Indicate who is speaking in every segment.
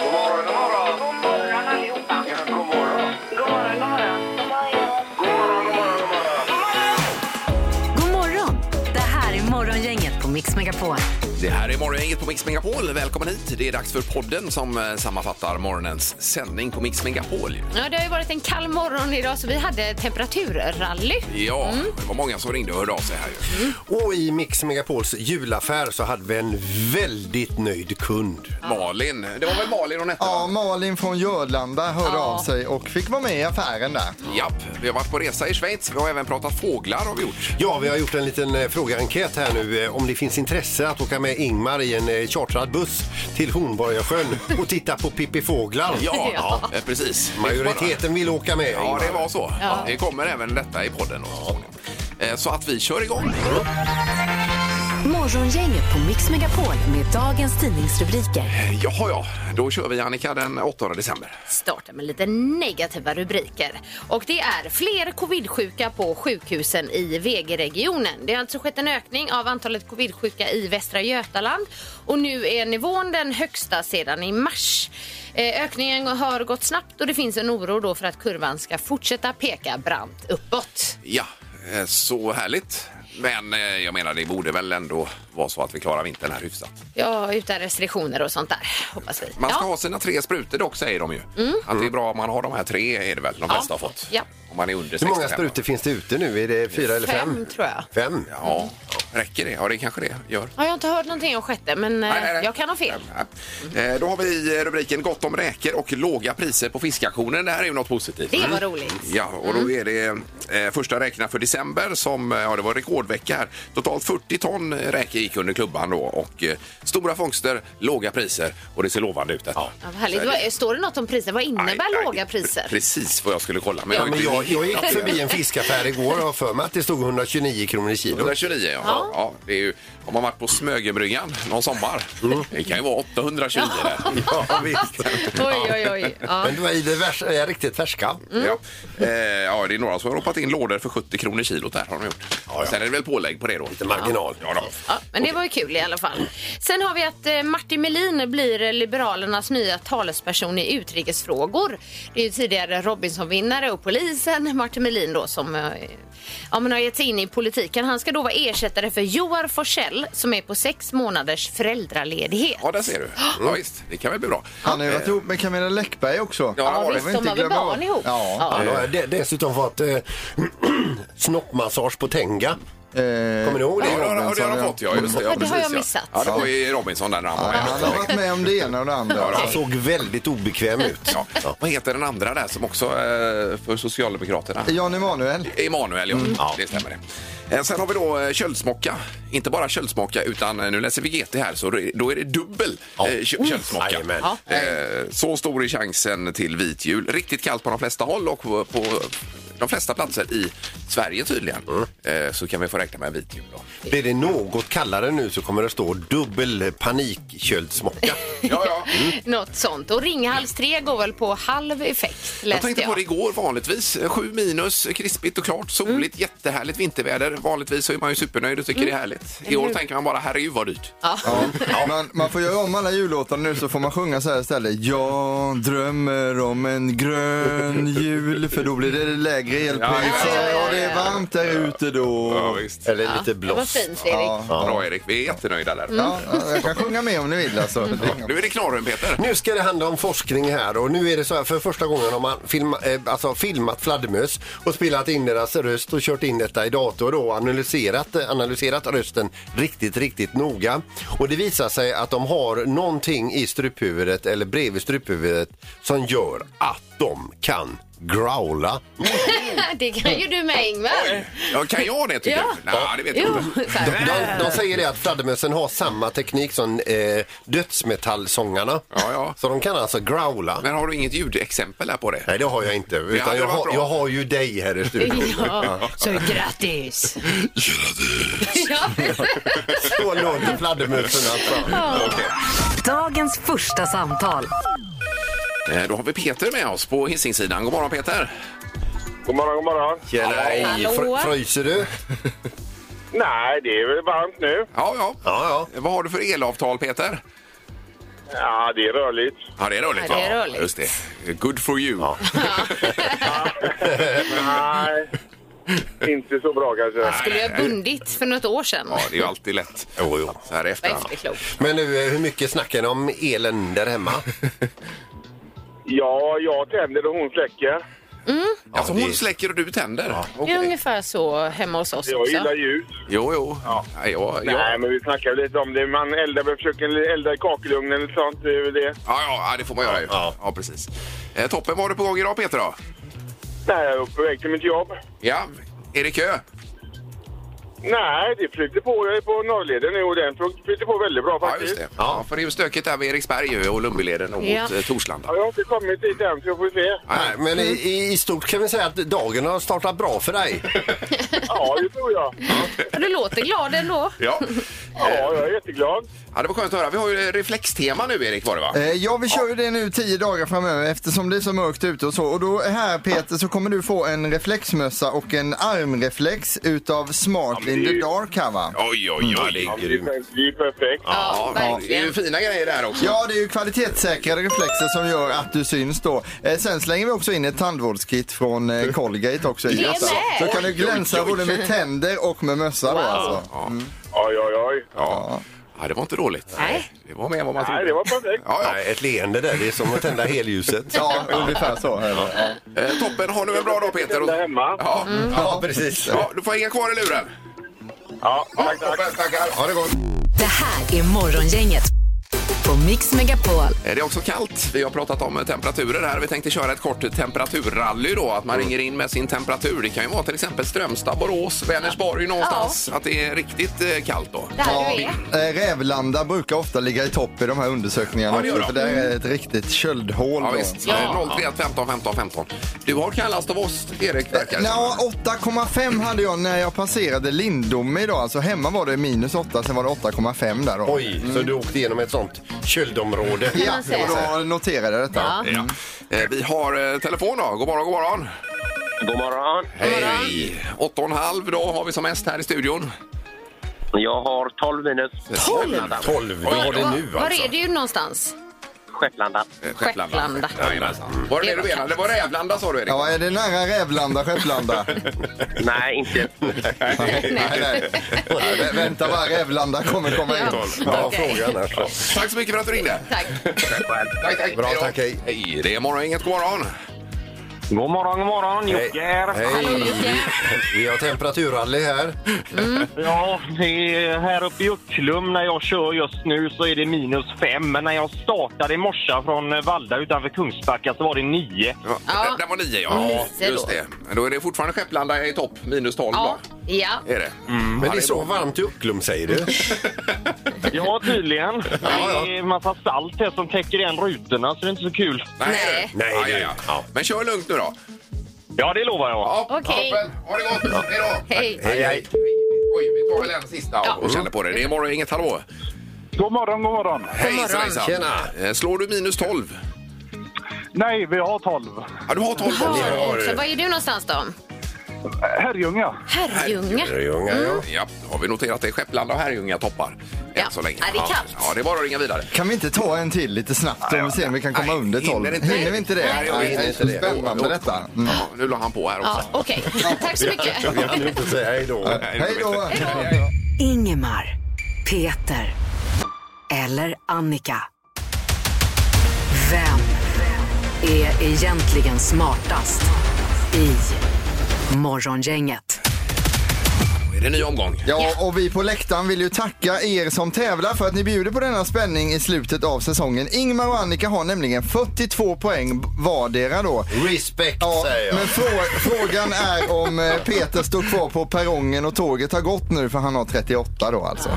Speaker 1: God morgon, god morgon.
Speaker 2: God morgon allihopa.
Speaker 1: Ja, god morgon.
Speaker 2: God morgon, god morgon. God morgon.
Speaker 1: God morgon, god morgon, god morgon.
Speaker 3: God morgon! Det här är Morgongänget på Mix Megapol.
Speaker 4: Det här är Morgongänget på Mix Megapol. Välkommen hit. Det är dags för podden som eh, sammanfattar morgonens sändning på Mix Megapol.
Speaker 5: Ja, det har ju varit en kall morgon idag så vi hade temperaturrally.
Speaker 4: Ja, det var många som ringde och hörde av sig här ju.
Speaker 6: Och i Mix Megapols julaffär så hade vi en väldigt nöjd kund.
Speaker 4: Malin, det var väl Malin hon hette?
Speaker 7: Ja,
Speaker 4: va?
Speaker 7: Malin från Jörlanda hörde
Speaker 5: Ja.
Speaker 7: av sig och fick vara med i affären där.
Speaker 4: Japp, vi har varit på resa i Schweiz. Vi har även pratat fåglar har vi gjort.
Speaker 6: Ja, vi har gjort en liten eh, frågeenkät här nu eh, om det finns intresse att åka med Ingmar i en eh, chartrad buss till Hornborgasjön och titta på Pippifåglar.
Speaker 4: Ja,
Speaker 5: Ja.
Speaker 4: eh, precis.
Speaker 6: Majoriteten vill åka med.
Speaker 4: Ja,
Speaker 6: Ingmar.
Speaker 4: det var så.
Speaker 5: Ja.
Speaker 4: Det kommer även detta i podden. då, så småningom. Eh, Så att vi kör igång.
Speaker 3: Morgongänget på Mix Megapol med dagens tidningsrubriker.
Speaker 4: Eh, Jaha, ja. Då kör vi Annika den 8 december.
Speaker 5: Startar med lite negativa rubriker. Och det är fler covid-sjuka på sjukhusen i VG-regionen. Det har alltså skett en ökning av antalet covid-sjuka i Västra Götaland och nu är nivån den högsta sedan i mars. Eh, Ökningen har gått snabbt och det finns en oro då för att kurvan ska fortsätta peka brant uppåt.
Speaker 4: Ja, eh, så härligt. Men eh, jag menar, det borde väl ändå vara så att vi klarar vintern här hyfsat.
Speaker 5: Ja, utan restriktioner och sånt där, hoppas vi.
Speaker 4: Man ska
Speaker 5: ja. Mm.
Speaker 4: ha sina tre sprutor dock, säger de ju. Att det är bra om man har de här tre, är det väl de flesta har fått.
Speaker 5: Ja.
Speaker 4: Om man är under 65.
Speaker 6: Hur många sprutor finns det ute nu? Är det fyra eller fem?
Speaker 5: Fem, tror jag.
Speaker 6: Fem?
Speaker 4: Ja, räcker det? Ja, det kanske det gör.
Speaker 5: Ja, jag har inte hört någonting om sjätte, men eh,
Speaker 4: Nej, nej, nej.
Speaker 5: jag kan ha fel.
Speaker 4: Eh, Då har vi rubriken Gott om räkor och låga priser på fiskauktionen. Det här är ju något positivt.
Speaker 5: Det var roligt. Mm.
Speaker 4: Ja, och då är det eh, första räkna för december som, eh, ja det var rekordvecka här. Totalt 40 ton räkor gick under klubban då och eh, stora fångster, låga priser och det ser lovande ut. Ja.
Speaker 5: Ja, vad härligt. Vad- Står det något om priser? Vad innebär låga priser?
Speaker 4: Precis vad jag skulle kolla. Men
Speaker 5: Ja,
Speaker 4: har
Speaker 6: Men
Speaker 4: inte-
Speaker 6: jag, jag gick förbi en fiskaffär igår och har för mig att det stod 129 kronor i kilo.
Speaker 4: 129 ja. ja.
Speaker 5: Ja.
Speaker 4: det är ju, har man varit på Smögenbryggan någon sommar, det kan ju vara 829 där.
Speaker 6: Ja, visst.
Speaker 5: Oj, oj, oj. Ja.
Speaker 6: Men det var i det värs- eh, riktigt färska.
Speaker 5: Mm.
Speaker 4: Ja. Eh, ja, det är några som har ropat in lådor för 70 kronor kilot där har de gjort. Sen är det väl pålägg på det då. Lite
Speaker 6: marginal.
Speaker 4: Ja, då.
Speaker 5: Ja, men det var ju kul i alla fall. Sen har vi att eh, Martin Melin blir eh, Liberalernas nya talesperson i utrikesfrågor. Det är ju tidigare Robinson-vinnare och polisen Martin Melin då som eh, ja, men har gett sig in i politiken. Han ska då vara ersättare för Joar Forsell som är på sex månaders föräldraledighet.
Speaker 4: Ja, där ser du. Ja, visst, det kan väl bli bra.
Speaker 7: Han har ju varit ihop med Camilla Läckberg också.
Speaker 4: Ja, det var det.
Speaker 7: får vi
Speaker 5: visst,
Speaker 7: inte
Speaker 5: de har väl
Speaker 7: glömma
Speaker 5: barn
Speaker 7: bort.
Speaker 5: ihop?
Speaker 7: Ja.
Speaker 6: Han har de- dessutom fått eh, snoppmassage på Tenga.
Speaker 7: Eh,
Speaker 6: Kommer ni ihåg det?
Speaker 4: Ja, det har- det har de fått, ja. Just
Speaker 5: Ja,
Speaker 4: det, ja,
Speaker 5: det har
Speaker 4: precis,
Speaker 5: jag
Speaker 4: ja.
Speaker 5: missat.
Speaker 4: Ja, det var ju Robinson där när han var
Speaker 7: nej, han
Speaker 4: med.
Speaker 7: har varit med om det ena och det andra.
Speaker 6: Han såg väldigt obekväm ut.
Speaker 4: Ja. Vad heter den andra där som också eh, för Socialdemokraterna?
Speaker 7: Jan Emanuel.
Speaker 4: Emanuel, ja. ja. Det stämmer det. Eh, Sen har vi då eh, köldsmocka. Inte bara köldsmocka, utan eh, nu läser vi GT här, så då- då är det dubbel ja. Mm. köldsmocka.
Speaker 6: Jajamän.
Speaker 4: Eh, Så stor är chansen till vit jul. Riktigt kallt på de flesta håll och på- på de flesta platser i Sverige tydligen. Eh, Så kan vi få räkna med vit jul då.
Speaker 6: Blir det något kallare nu så kommer det stå dubbel panikköldssmocka.
Speaker 4: Ja, ja.
Speaker 5: Något sånt. Och Ringhals 3 går väl på halv effekt
Speaker 4: Jag
Speaker 5: läste
Speaker 4: tänkte på det
Speaker 5: jag.
Speaker 4: igår vanligtvis. eh, Sju minus, krispigt och klart, soligt, jättehärligt vinterväder. Vanligtvis så är man ju supernöjd och tycker det är härligt. I år tänker man bara, herregud vad dyrt.
Speaker 7: Ja. Man, man får göra om alla jullåtar nu så får man sjunga så här istället. Jag drömmer om en grön jul för då blir det lägre elpriser.
Speaker 4: ja,
Speaker 5: ja, ja.
Speaker 7: Och det är varmt där ute då.
Speaker 4: visst.
Speaker 6: Eller lite
Speaker 5: Det var
Speaker 6: blås.
Speaker 5: fint, Erik.
Speaker 4: Bra Erik, vi är jättenöjda där.
Speaker 7: Ja, jag kan sjunga med om ni vill alltså. Det är inga
Speaker 4: Nu är det knorren Peter.
Speaker 6: Nu ska det handla om forskning här och nu är det så här för första gången har man filma, eh, alltså filmat fladdermöss och spelat in deras röst och kört in detta i dator då och analyserat, eh, analyserat rösten riktigt, riktigt noga. Och det visar sig att de har någonting i struphuvudet eller bredvid struphuvudet som gör att de kan growla.
Speaker 5: Det kan ju du med Ingvar.
Speaker 4: Ja, kan jag det tycker
Speaker 5: Ja.
Speaker 4: du? Nej, det vet jag
Speaker 5: Jo,
Speaker 4: inte.
Speaker 5: så här.
Speaker 6: De, de säger det att fladdermössen har samma teknik som eh, dödsmetallsångarna.
Speaker 4: Ja, ja.
Speaker 6: Så de kan alltså growla.
Speaker 4: Men har du inget ljudexempel här på det?
Speaker 6: Nej, det har jag inte. Utan
Speaker 4: hade
Speaker 6: jag,
Speaker 4: varit
Speaker 6: har,
Speaker 4: bra.
Speaker 6: jag har ju dig här i studion.
Speaker 5: Ja, så grattis! ja.
Speaker 6: Så låter fladdermusen alltså.
Speaker 3: Dagens första samtal.
Speaker 4: Eh, Då har vi Peter med oss på Hisingssidan. God morgon Peter!
Speaker 1: God morgon, god morgon.
Speaker 6: Nej,
Speaker 5: Hallå?
Speaker 6: fr- fryser du?
Speaker 1: Nej, det är väl varmt nu.
Speaker 4: Ja, ja.
Speaker 6: Ja, ja.
Speaker 4: Vad har du för elavtal Peter?
Speaker 1: Ja, det är rörligt.
Speaker 4: Ja, det är rörligt
Speaker 5: Ja, det är
Speaker 4: va?
Speaker 5: rörligt.
Speaker 4: Just det. Good for you.
Speaker 1: Nej, inte så bra kanske.
Speaker 5: Skulle jag bundit för något år sedan?
Speaker 4: Ja, det är ju alltid lätt så här i
Speaker 5: Vad
Speaker 4: efterhand.
Speaker 5: efterklok.
Speaker 6: Men nu, eh, hur mycket snackar ni om elen där hemma?
Speaker 1: Ja, jag tänder och hon släcker.
Speaker 4: Alltså
Speaker 6: Ja,
Speaker 4: hon
Speaker 6: det-
Speaker 4: släcker och du tänder?
Speaker 5: Det är
Speaker 4: Okej.
Speaker 5: ungefär så hemma hos oss
Speaker 1: Jag gillar
Speaker 5: också.
Speaker 1: ljus.
Speaker 4: Jo, jo. Ja, ja, ja.
Speaker 1: Nej, men vi snackar lite om det. Man eldar, man försöker elda i kakelugnen eller sånt. Det är väl det.
Speaker 4: Ja, ja, ja, det får man göra ju. Ja, precis. Eh, toppen, vad har du på gång idag Peter då?
Speaker 1: Nej, jag är på väg till mitt jobb.
Speaker 4: Ja, är det kö?
Speaker 1: Nej, det flyter på. Jag är på norrleden nu och den flyter på väldigt bra
Speaker 4: Ja,
Speaker 1: faktiskt.
Speaker 4: just det. Ja, för det är ju stökigt där vid Eriksberg ju och Lundbyleden och
Speaker 5: Ja.
Speaker 4: mot eh, Torslanda.
Speaker 1: Ja, jag har inte kommit dit än, så jag får se.
Speaker 6: Nej, men i, i, i stort kan vi säga att dagen har startat bra för dig.
Speaker 1: Ja, det tror jag.
Speaker 5: Du låter glad ändå.
Speaker 4: Ja.
Speaker 1: Ja,
Speaker 4: Eh.
Speaker 1: jag är jätteglad.
Speaker 4: ja, det var skönt att höra. Vi har ju reflextema nu Erik var det va?
Speaker 7: Eh, Ja, vi kör ju det nu tio dagar framöver eftersom det är så mörkt ute och så. Och då här Peter så kommer du få en reflexmössa och en armreflex utav Smart
Speaker 1: men det
Speaker 7: in
Speaker 1: är
Speaker 7: the
Speaker 1: ju-
Speaker 7: Dark här va?
Speaker 4: Oj, oj, oj.
Speaker 1: Ja, det, är, det är perfekt.
Speaker 5: Ja,
Speaker 4: Ja, det är ju
Speaker 5: verkligen.
Speaker 4: fina grejer där också.
Speaker 7: Ja, det är ju kvalitetssäkrade reflexer som gör att du syns då. Eh, sen slänger vi också in ett tandvårdskit från eh, Colgate också. i
Speaker 5: Det är
Speaker 7: detta.
Speaker 5: med.
Speaker 7: Så kan du glänsa både med tänder och med mössa då alltså.
Speaker 1: Oj, oj, oj.
Speaker 4: Ja. ja, det var inte dåligt.
Speaker 5: Nej.
Speaker 4: Det var mer än vad man trodde.
Speaker 1: Nej, det var perfekt.
Speaker 4: Ja, ja.
Speaker 6: Nej, Ett leende där, det är som att tända helljuset.
Speaker 7: Ja, ungefär så. här, va? Ja.
Speaker 4: Eh, toppen, ha nu en bra dag Peter.
Speaker 1: Där hemma.
Speaker 4: Ja,
Speaker 5: Mm.
Speaker 7: Ja, precis.
Speaker 4: ja du får hänga kvar i luren.
Speaker 1: Ja,
Speaker 4: Ja,
Speaker 1: tack, tack.
Speaker 4: toppen, tackar. Ha det gott.
Speaker 3: Det här är Morgongänget på Mix Megapol.
Speaker 4: Eh, Det är också kallt. Vi har pratat om eh, temperaturer här. Vi tänkte köra ett kort temperaturrally då. Att man
Speaker 1: Mm.
Speaker 4: ringer in med sin temperatur. Det kan ju vara till exempel Strömstad, Borås, Vänersborg någonstans. Att det är riktigt eh, kallt då.
Speaker 5: Där du
Speaker 7: Ja,
Speaker 5: är.
Speaker 7: eh, Rävlanda brukar ofta ligga i topp i de här undersökningarna
Speaker 4: Ja, det gör
Speaker 7: också,
Speaker 4: de.
Speaker 7: för det här är ett riktigt köldhål.
Speaker 4: Ja,
Speaker 7: då.
Speaker 4: visst.
Speaker 5: Ja.
Speaker 4: Eh, 031 15 15 15. Du har kallast av oss, Erik, verkar det
Speaker 7: Nja,
Speaker 4: som.
Speaker 7: 8,5 hade jag när jag passerade Lindome idag. Alltså hemma var det minus 8, sen var det 8,5 där då.
Speaker 6: Oj, så du åkte igenom ett sånt köldområde.
Speaker 7: Ja,
Speaker 5: man säga.
Speaker 7: och då noterade jag detta.
Speaker 5: Ja.
Speaker 4: Ja. Eh, Vi har eh, telefon då. God morgon, god morgon.
Speaker 1: God morgon.
Speaker 4: Hej! Åtta och en halv dag har vi som mest här i studion. Eh,
Speaker 8: Jag har 12 minus Skepplanda.
Speaker 6: 12, du har det nu
Speaker 5: Var
Speaker 6: alltså.
Speaker 5: är du någonstans?
Speaker 8: Skepplanda.
Speaker 4: Eh,
Speaker 5: Skepplanda.
Speaker 4: Jajamensan. Var det det du menade? Det var Rävlanda sa du, Erik.
Speaker 7: Ja, är det nära Rävlanda, Skepplanda?
Speaker 8: Nej, inte.
Speaker 7: nej, nej. nej. vä- Vänta bara, Rävlanda kommer komma in.
Speaker 6: Ja,
Speaker 5: Okej.
Speaker 6: fråga annars.
Speaker 4: Tack så mycket för att du ringde.
Speaker 5: Tack.
Speaker 4: Tack, tack.
Speaker 6: Bra,
Speaker 4: Hej då.
Speaker 6: tack, hej.
Speaker 4: Hej, det är morgon, inget god morgon.
Speaker 8: God morgon, god morgon. Jocke här.
Speaker 5: Hallå,
Speaker 6: Hej,
Speaker 5: Jocke.
Speaker 6: vi har temperaturrally här.
Speaker 8: Ja, det är här uppe i Ucklum när jag kör just nu så är det minus fem. Men när jag startade i morse från Valda utanför Kungsbacka så var det nio.
Speaker 5: Ja.
Speaker 4: Den, den var nio, ja.
Speaker 5: Nio
Speaker 4: ja just
Speaker 5: då.
Speaker 4: det. Men Då är det fortfarande Skepplanda i topp, minus 12
Speaker 5: Ja,
Speaker 4: då.
Speaker 5: ja.
Speaker 4: Är det?
Speaker 6: Mm. Men det är så varmt i Ucklum säger du.
Speaker 8: Ja, tydligen. Det är en massa salt här som täcker igen rutorna så det är inte så kul.
Speaker 4: Nej,
Speaker 6: Nej,
Speaker 4: Nej
Speaker 6: det-
Speaker 4: ja, ja, ja. Men kör lugnt nu då.
Speaker 8: Ja, det lovar jag.
Speaker 4: Ja,
Speaker 5: Okej.
Speaker 4: toppen. Ha det gott. Hej då.
Speaker 5: Hej.
Speaker 4: Hej, hej. Oj, vi tar väl en sista och- och känner på det. Det är morgon, inget hallå.
Speaker 9: God morgon, god morgon.
Speaker 4: Hejsan, hejsan.
Speaker 6: Tjena.
Speaker 4: Eh, Slår du minus 12?
Speaker 9: Nej, vi har 12.
Speaker 4: Ja, du har 12
Speaker 5: Ja,
Speaker 4: också.
Speaker 5: också. Var är du någonstans då?
Speaker 9: Herrljunga.
Speaker 5: Herrljunga.
Speaker 6: Herrljunga, ja.
Speaker 4: Ja, då har vi noterat det. Skepplanda och Herrljunga toppar.
Speaker 5: Ja.
Speaker 4: Än så länge.
Speaker 5: Ja, det är kallt.
Speaker 4: Ja, det är bara att ringa vidare.
Speaker 7: Kan vi inte ta en till lite snabbt om vi ser om vi kan komma
Speaker 4: Nej,
Speaker 7: under 12?
Speaker 4: hinner inte.
Speaker 7: Hinner vi inte det?
Speaker 4: Nej, jag hinner
Speaker 7: det är
Speaker 4: inte
Speaker 7: så
Speaker 4: det.
Speaker 7: spännande detta. Mm.
Speaker 4: Ja, nu la han på här också.
Speaker 5: Ja, okej. Tack så mycket.
Speaker 6: Jag kan ju inte säga hej då.
Speaker 4: Nej,
Speaker 7: Hej
Speaker 4: vet
Speaker 7: då!
Speaker 4: jag.
Speaker 3: Ingemar, Peter eller Annika. Vem är egentligen smartast i Morgongänget?
Speaker 4: Är det en ny omgång?
Speaker 7: Ja, och vi på läktaren vill ju tacka er som tävlar för att ni bjuder på denna spänning i slutet av säsongen. Ingmar och Annika har nämligen 42 poäng vardera då.
Speaker 6: Respekt
Speaker 7: Ja,
Speaker 6: säger jag.
Speaker 7: men frå- frågan är om eh, Peter står kvar på perrongen och tåget har gått nu för han har 38 då alltså.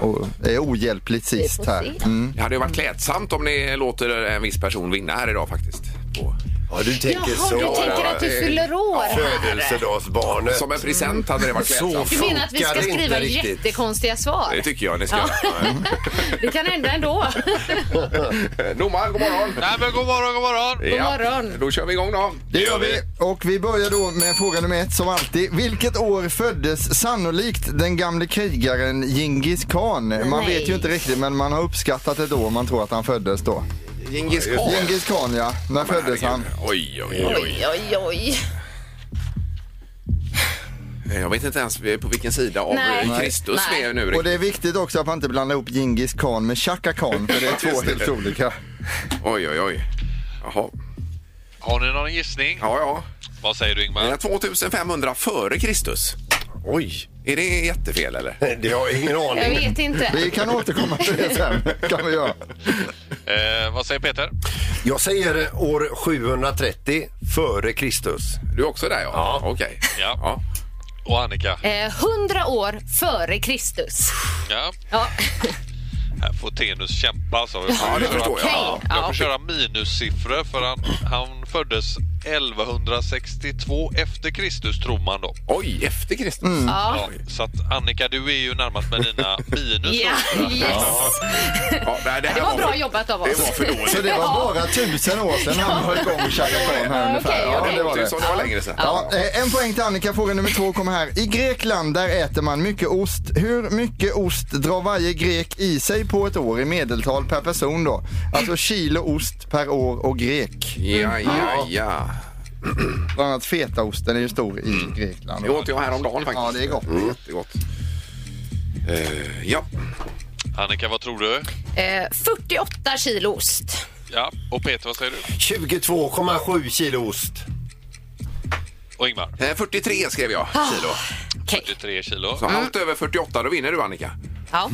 Speaker 7: Och är ohjälpligt sist
Speaker 5: får
Speaker 7: här.
Speaker 5: se.
Speaker 7: Mm.
Speaker 4: Det hade ju varit klädsamt om ni låter en viss person vinna här idag faktiskt. På...
Speaker 6: Ja, du tänker
Speaker 5: Jaha,
Speaker 6: så.
Speaker 5: du tänker att du
Speaker 6: eh,
Speaker 5: fyller år här.
Speaker 6: Födelsedagsbarnet.
Speaker 4: Som en present hade det varit
Speaker 6: Så
Speaker 4: klädsamt.
Speaker 5: Du menar att vi ska
Speaker 6: Funkar inte
Speaker 5: skriva
Speaker 6: riktigt.
Speaker 5: jättekonstiga svar?
Speaker 4: Det tycker jag ni ska göra.
Speaker 5: Det kan hända ändå.
Speaker 4: Domaren, god morgon!
Speaker 10: Nej, men god morgon, god morgon!
Speaker 4: Ja,
Speaker 5: morgon.
Speaker 4: Då kör vi igång då.
Speaker 7: Det gör vi. Och vi börjar då med fråga nummer ett som alltid. Vilket år föddes sannolikt den gamle krigaren Genghis khan? Man
Speaker 5: Nej.
Speaker 7: vet ju inte riktigt men man har uppskattat ett år man tror att han föddes då.
Speaker 4: Djingis khan.
Speaker 7: Genghis khan ja, när föddes han?
Speaker 4: Oj, oj, oj.
Speaker 5: Oj, oj, oj.
Speaker 4: Jag vet inte ens på vilken sida av
Speaker 5: Nej.
Speaker 4: eh, Kristus
Speaker 5: Nej.
Speaker 4: vi är nu.
Speaker 7: Och
Speaker 4: riktigt.
Speaker 7: det är viktigt också att man inte blandar ihop Genghis khan med Chaka khan för det är två
Speaker 4: Just det.
Speaker 7: helt olika.
Speaker 4: Oj, oj, oj. Jaha.
Speaker 10: Har ni någon gissning?
Speaker 4: Ja, ja.
Speaker 10: Vad säger du
Speaker 4: Eh,
Speaker 10: Ingmar?
Speaker 4: 2500 före Kristus. Oj. Är det jättefel eller?
Speaker 6: Det har jag ingen
Speaker 5: Jag
Speaker 6: aning.
Speaker 5: vet inte.
Speaker 7: Vi kan återkomma till det sen. Kan vi göra.
Speaker 10: Eh, vad säger Peter?
Speaker 6: Jag säger år 730 före Kristus.
Speaker 4: Du är också där ja?
Speaker 6: Ja.
Speaker 4: Okej.
Speaker 10: Ja. Och Annika?
Speaker 5: Eh, 100 år före Kristus.
Speaker 10: Ja.
Speaker 5: Ja.
Speaker 10: Här får Tenus kämpa. Så
Speaker 4: Ja, det förstår jag.
Speaker 5: Okej.
Speaker 10: Jag
Speaker 5: Ja.
Speaker 10: får köra minussiffror för han, han föddes 1162 efter Kristus tror man då.
Speaker 4: Oj, efter Kristus?
Speaker 7: Mm.
Speaker 5: ja.
Speaker 10: Ja, så att Annika, du är ju närmast med dina minus.
Speaker 5: Ja, yes.
Speaker 4: Ja, nej, det, här
Speaker 5: Det var bra
Speaker 4: för,
Speaker 5: jobbat av
Speaker 4: Det
Speaker 5: oss.
Speaker 4: var för dåligt.
Speaker 7: Så det var bara tusen år sedan han var igång Chaka khan här ungefär.
Speaker 5: Okej,
Speaker 7: Ja,
Speaker 5: okej.
Speaker 7: det var det.
Speaker 4: Tusen, det var längre sedan.
Speaker 7: Ja, eh, en poäng till Annika. Fråga nummer två kommer här. I Grekland där äter man mycket ost. Hur mycket ost drar varje grek i sig på ett år i medeltal per person då? Alltså kilo ost per år och grek.
Speaker 4: Ja, ja, ja.
Speaker 7: Bland annat fetaosten är ju stor i Grekland.
Speaker 4: Det åt jag häromdagen faktiskt. Mm.
Speaker 7: Ja, det är gott.
Speaker 4: Jättegott. Eh, ja.
Speaker 10: Annika, vad tror du?
Speaker 5: Eh, 48 kilo ost.
Speaker 10: Ja, och Peter, vad säger du?
Speaker 6: 22,7 kilo ost.
Speaker 10: Och Ingmar?
Speaker 4: Eh, 43 skrev jag
Speaker 7: Ah.
Speaker 4: kilo.
Speaker 5: Okej.
Speaker 10: 43 kilo.
Speaker 4: Så allt över 48, då vinner du Annika.
Speaker 5: Ja.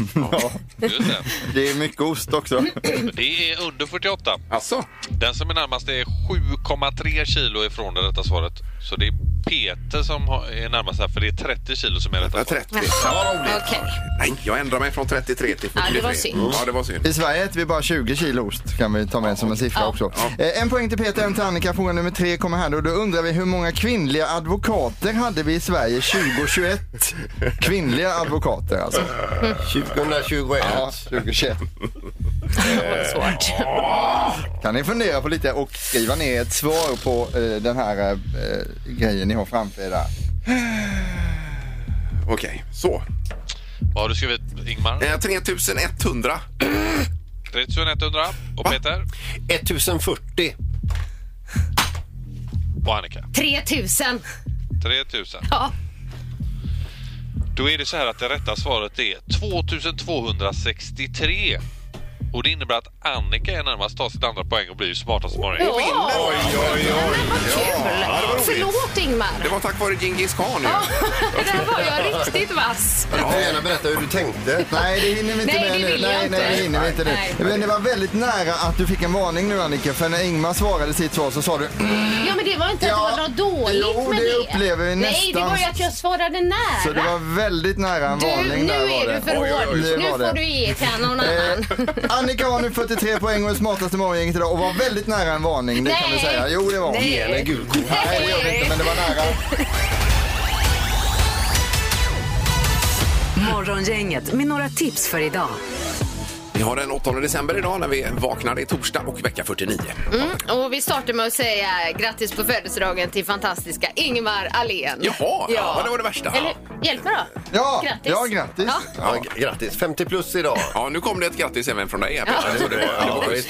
Speaker 10: Just det.
Speaker 7: Det är mycket ost också.
Speaker 10: Men Det är under 48.
Speaker 4: Alltså,
Speaker 10: Den som är närmast är 7,3 kilo ifrån det rätta svaret. Så det är Peter som har- är närmast här, för det är 30 kilo som är rätta
Speaker 4: eh,
Speaker 10: svaret.
Speaker 4: 30. Ja, roligt.
Speaker 5: Okej.
Speaker 4: Nej, jag ändrar mig från 33 till 43.
Speaker 5: Ja, det var synd.
Speaker 4: Ja, det var synd.
Speaker 7: I Sverige äter vi bara 20 kilo ost kan vi ta med som en siffra
Speaker 5: Ja.
Speaker 7: också. Eh, En poäng till Peter, en till Annika. Fråga nummer tre kommer här då. Då undrar vi hur många kvinnliga advokater hade vi i Sverige 2021? Kvinnliga advokater alltså.
Speaker 6: 2021.
Speaker 7: Ja, 2021.
Speaker 5: Det var svårt.
Speaker 7: Kan ni fundera på lite och skriva ner ett svar på eh, den här eh, grejen ni har framför er där.
Speaker 4: Okej, så.
Speaker 10: Vad har du skrivit Ingmar?
Speaker 4: Eh, 3100.
Speaker 10: 3100. Och Peter?
Speaker 6: 1040.
Speaker 10: Och Annika?
Speaker 5: 3000.
Speaker 10: 3000.
Speaker 5: Ja.
Speaker 10: Då är det så här att det rätta svaret är 2263. Och det innebär att Annika är närmast, tar sitt andra poäng och blir smartast i morgon.
Speaker 5: Ja,
Speaker 4: Oj, oj, oj.
Speaker 5: vad kul! Förlåt
Speaker 4: Det
Speaker 5: Ingmar.
Speaker 4: var tack vare Djingis khan. ju.
Speaker 5: Där var jag riktigt vass.
Speaker 6: Du får gärna berätta hur du tänkte.
Speaker 7: Nej, det hinner vi inte
Speaker 5: Nej,
Speaker 7: med
Speaker 5: det
Speaker 7: nu.
Speaker 5: vill jag
Speaker 7: nej,
Speaker 5: inte.
Speaker 7: nej, det hinner vi inte nu.
Speaker 5: Nej.
Speaker 7: Men det var väldigt nära att du fick en varning nu Annika, för när Ingmar svarade sitt svar så sa du
Speaker 5: Ja, men det var inte
Speaker 7: Ja.
Speaker 5: att det var något dåligt
Speaker 7: Jo,
Speaker 5: med
Speaker 7: det
Speaker 5: det.
Speaker 7: upplever vi
Speaker 5: Nej, det
Speaker 7: nästan.
Speaker 5: var ju att jag svarade nära.
Speaker 7: Så det var väldigt nära en
Speaker 5: du,
Speaker 7: varning
Speaker 5: nu
Speaker 7: där var
Speaker 5: är
Speaker 7: det.
Speaker 5: du för
Speaker 7: Oj, oj,
Speaker 5: hård.
Speaker 7: oj. Det
Speaker 5: Nu
Speaker 7: var det.
Speaker 5: får du ge till någon annan.
Speaker 7: Eh, Annika har nu 43 poäng och är smartast i morgongänget idag och var väldigt nära en varning, det kan vi
Speaker 5: Nej.
Speaker 7: säga. Jo, det var hon.
Speaker 5: Nej. Ge henne en
Speaker 7: gul Nej, det gör vi inte, men det var nära.
Speaker 3: Morgongänget med några tips för idag.
Speaker 4: Vi har den 8 december idag när vi vaknar. Det är torsdag och vecka 49.
Speaker 5: Mm. Och vi startar med att säga grattis på födelsedagen till fantastiska Ingmar Ahlén.
Speaker 4: Jaha, ja, det var det värsta.
Speaker 5: Eller, hjälp mig då.
Speaker 7: Ja,
Speaker 5: Grattis.
Speaker 7: ja, grattis.
Speaker 5: Ja.
Speaker 6: Ja, g- grattis. 50 plus idag.
Speaker 4: Ja, nu kom det ett grattis även från dig. Peter. Så det var- det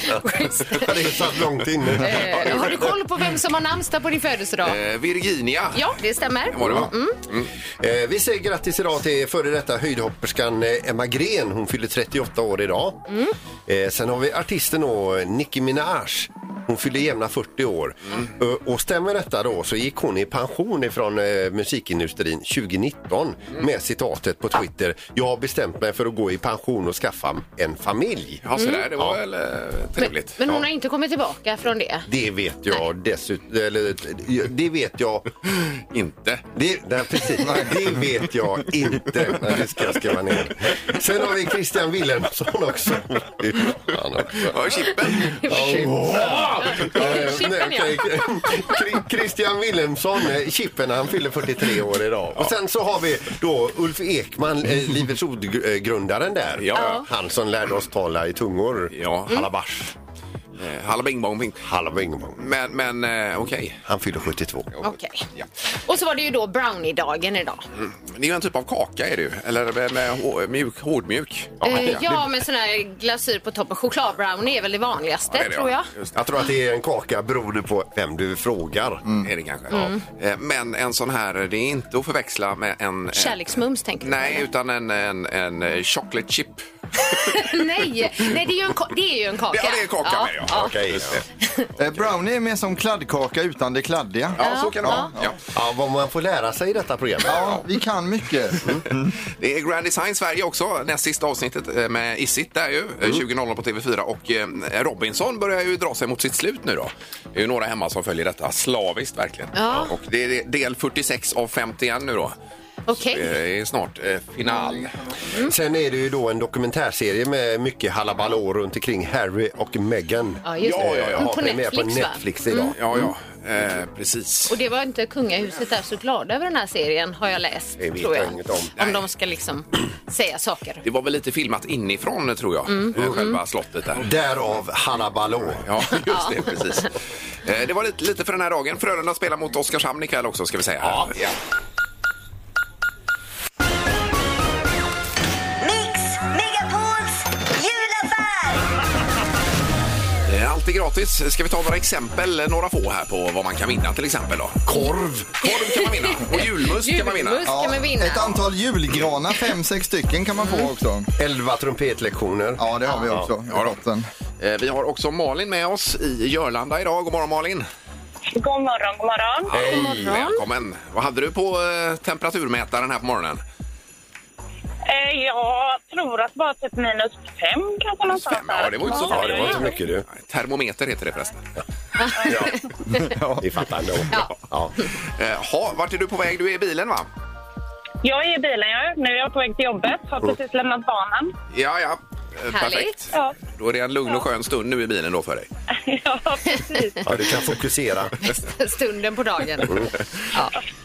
Speaker 4: var-
Speaker 6: Ja, det satt långt inne.
Speaker 5: Eh, har du koll på vem som har namnsdag på din födelsedag?
Speaker 4: Eh, Virginia.
Speaker 5: Ja, det stämmer. Mm.
Speaker 4: Var det va?
Speaker 6: Eh, vi säger grattis idag till före detta höjdhopperskan eh, Emma Gren. Hon fyller 38 år idag.
Speaker 4: Mm.
Speaker 6: Eh, sen har vi artisten då, eh, Nicki Minaj. Hön fyller jämna 40 år.
Speaker 4: Mm.
Speaker 6: Ö- Och stämmer detta då så gick hon i pension ifrån eh, musikindustrin 2019
Speaker 4: Mm.
Speaker 6: med citatet på Twitter. Jag har bestämt mig för att gå i pension och skaffa en familj.
Speaker 4: Ja, så där. Det var väl eh, Trevligt.
Speaker 5: Men hon
Speaker 4: Ja.
Speaker 5: har inte kommit tillbaka från det.
Speaker 6: Det vet jag dessutom, eller det vet jag
Speaker 4: Inte.
Speaker 6: Det, nej, precis. det vet jag inte. Nej, det ska jag skriva ner. Sen har vi Christian Wilhelmsson också. Fy fan också.
Speaker 4: Ja, Chippen.
Speaker 6: Eh,
Speaker 5: Chippen,
Speaker 6: nej, okej. Kri- Christian Wilhelmsson, eh, Chippen, han fyller 43 år idag. Och sen så har vi då Ulf Ekman, eh, Livets Ord-grundaren där.
Speaker 4: Ja, ja.
Speaker 6: Han som lärde oss tala i tungor. Mm.
Speaker 4: Ja.
Speaker 6: Halabash,
Speaker 4: Eh, Halla bing bong bing.
Speaker 6: halabingbong.
Speaker 4: Men, men eh, okej.
Speaker 6: Han fyller 72.
Speaker 5: Okej.
Speaker 4: Ja.
Speaker 5: Och så var det ju då brownie-dagen idag.
Speaker 4: Det är ju en typ av kaka är det ju. Eller med, med hå- mjuk, hårdmjuk. Ja,
Speaker 5: Eh, ja, med sån här glasyr på toppen. Chokladbrownie är väl det vanligaste,
Speaker 4: det är det,
Speaker 5: tror jag.
Speaker 4: ja. Just
Speaker 6: Jag tror att det är en kaka beroende på vem du frågar.
Speaker 4: det. Är det kanske.
Speaker 5: Mm.
Speaker 4: Ja. Eh, Men en sån här, det är inte att förväxla med en... en-
Speaker 5: Kärleksmums, tänker du?
Speaker 4: Nej, utan en, en, en eh, chocolate chip.
Speaker 5: Nej, nej det, är ju en, ka- det är ju en kaka.
Speaker 4: Ja, det är kaka med ja.
Speaker 5: ja.
Speaker 6: Okej. ja.
Speaker 7: Eh, brownie är mer som kladdkaka utan det kladdiga.
Speaker 4: Ja, så kan det vara. Ja.
Speaker 6: Ja, vad man får lära sig i detta program.
Speaker 7: Ja, vi kan mycket.
Speaker 4: Det är Grand Design Sverige också, näst sista avsnittet eh, med Isit där ju, eh, 20.00 på TV4 och eh, Robinson börjar ju dra sig mot sitt slut nu då. Det är ju några hemma som följer detta slaviskt verkligen.
Speaker 5: Ja.
Speaker 4: Och det är del 46 av 51 nu då.
Speaker 5: Okej.
Speaker 4: Eh, Det är snart eh, final.
Speaker 6: Sen är det ju då en dokumentärserie med mycket halabalå runt omkring Harry och Meghan.
Speaker 5: Ja, just det.
Speaker 4: Ja, ja, ja.
Speaker 5: Mm, På
Speaker 6: Har premiär
Speaker 5: Netflix,
Speaker 6: på
Speaker 5: va?
Speaker 6: Netflix idag.
Speaker 4: Ja, ja, eh, precis.
Speaker 5: Och det var inte kungahuset där så glada över den här serien, har jag läst.
Speaker 6: Det vet
Speaker 5: tror
Speaker 6: jag
Speaker 5: jag.
Speaker 6: inget om.
Speaker 4: Nej.
Speaker 5: om de ska liksom säga saker.
Speaker 4: Det var väl lite filmat inifrån tror jag, eh, själva slottet
Speaker 6: Mm.
Speaker 4: där.
Speaker 6: Därav halabalå.
Speaker 4: Ja, just det. precis. Eh, Det var lite, lite för den här dagen. Frölunda spelar mot Oskarshamn ikväll också ska vi säga. Ja.
Speaker 2: Mix Megapols julaffär!
Speaker 4: Eh, Allt är gratis. Ska vi ta några exempel, eh, några få här på vad man kan vinna till exempel då? Korv! Korv kan man vinna och julmust kan man vinna.
Speaker 5: Julmust. Ska man vinna? Mm.
Speaker 7: Ett antal julgranar, fem, sex stycken kan man få också.
Speaker 6: Elva trumpetlektioner.
Speaker 7: Ja, det har vi också.
Speaker 4: Ja,
Speaker 7: Ja,
Speaker 4: då. Eh, Vi har också Malin med oss i Jörlanda idag. God morgon Malin!
Speaker 2: God morgon, god morgon.
Speaker 4: Hej!
Speaker 5: morgon.
Speaker 4: Välkommen! Vad hade du på eh, temperaturmätaren här på morgonen?
Speaker 2: Eh, jag tror att det var typ minus fem kanske någonstans.
Speaker 4: Fem, ja, det var ju inte så
Speaker 6: Ja, det var inte mycket du.
Speaker 4: Termometer heter det förresten.
Speaker 6: Vi fattar ändå. Ja.
Speaker 4: Eh, Ha, vart är du på väg? Du är i bilen va?
Speaker 2: Jag är i bilen jag. Nu är jag på väg till jobbet. Har precis lämnat barnen.
Speaker 4: Ja, ja. Eh,
Speaker 5: Härligt.
Speaker 4: Perfekt.
Speaker 2: Ja,
Speaker 4: Då är det en lugn och skön stund nu i bilen då för dig.
Speaker 2: ja precis.
Speaker 6: Ja, du kan fokusera.
Speaker 5: Stunden på
Speaker 4: Mm.
Speaker 5: dagen.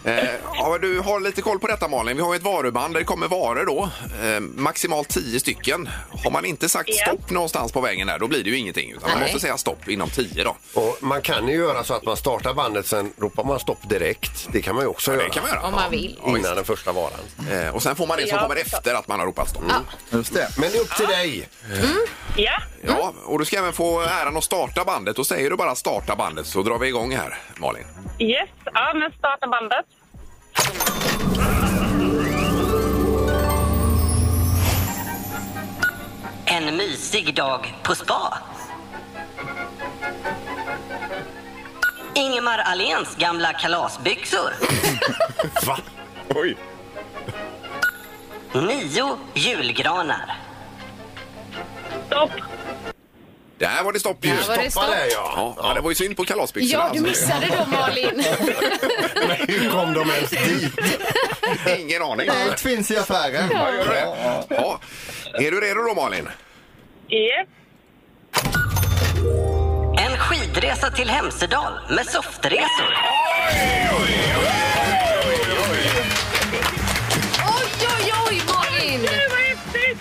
Speaker 4: Eh, ja, du har lite koll på detta Malin. Vi har ju ett varuband där det kommer varor då. Eh, maximalt 10 stycken. Har man inte sagt
Speaker 2: Ja.
Speaker 4: stopp någonstans på vägen där, då blir det ju ingenting. Utan man
Speaker 5: Nej.
Speaker 4: måste säga stopp inom 10 då.
Speaker 6: Och man kan ju göra så att man startar bandet, sen ropar man stopp direkt. Det kan man ju också
Speaker 4: Ja,
Speaker 6: göra.
Speaker 4: det kan man göra.
Speaker 5: Om man vill.
Speaker 4: Ja, visst.
Speaker 6: Innan den första varan.
Speaker 4: Eh, och sen får man det som
Speaker 2: Ja,
Speaker 4: kommer
Speaker 2: förstås.
Speaker 4: efter att man har ropat stopp.
Speaker 7: Just det.
Speaker 6: Men det är upp till dig.
Speaker 2: Ja,
Speaker 4: Ja, och du ska även få äran att starta bandet. Då säger du bara starta bandet så drar vi igång här, Malin.
Speaker 2: yes. Ja, men starta bandet.
Speaker 11: En mysig dag på spa. Ingemar Ahléns gamla kalasbyxor.
Speaker 6: Va? Oj.
Speaker 11: Nio julgranar.
Speaker 2: Stopp.
Speaker 4: Där var det stopp ju.
Speaker 5: Där var det
Speaker 6: Stoppa
Speaker 5: stopp.
Speaker 6: där ja.
Speaker 4: Ja, ja, det var ju synd på kalasbyxorna.
Speaker 5: Ja, du
Speaker 4: alltså.
Speaker 5: missade då Malin.
Speaker 6: Hur kom de ens dit?
Speaker 4: Ingen aning.
Speaker 7: Allt finns i affären. Ja,
Speaker 4: Ja. Är du redo då, Malin?
Speaker 2: Yes.
Speaker 11: En skidresa till Hemsedal med softresor.
Speaker 5: Oj, oj, oj Malin!
Speaker 2: Gud, vad häftigt!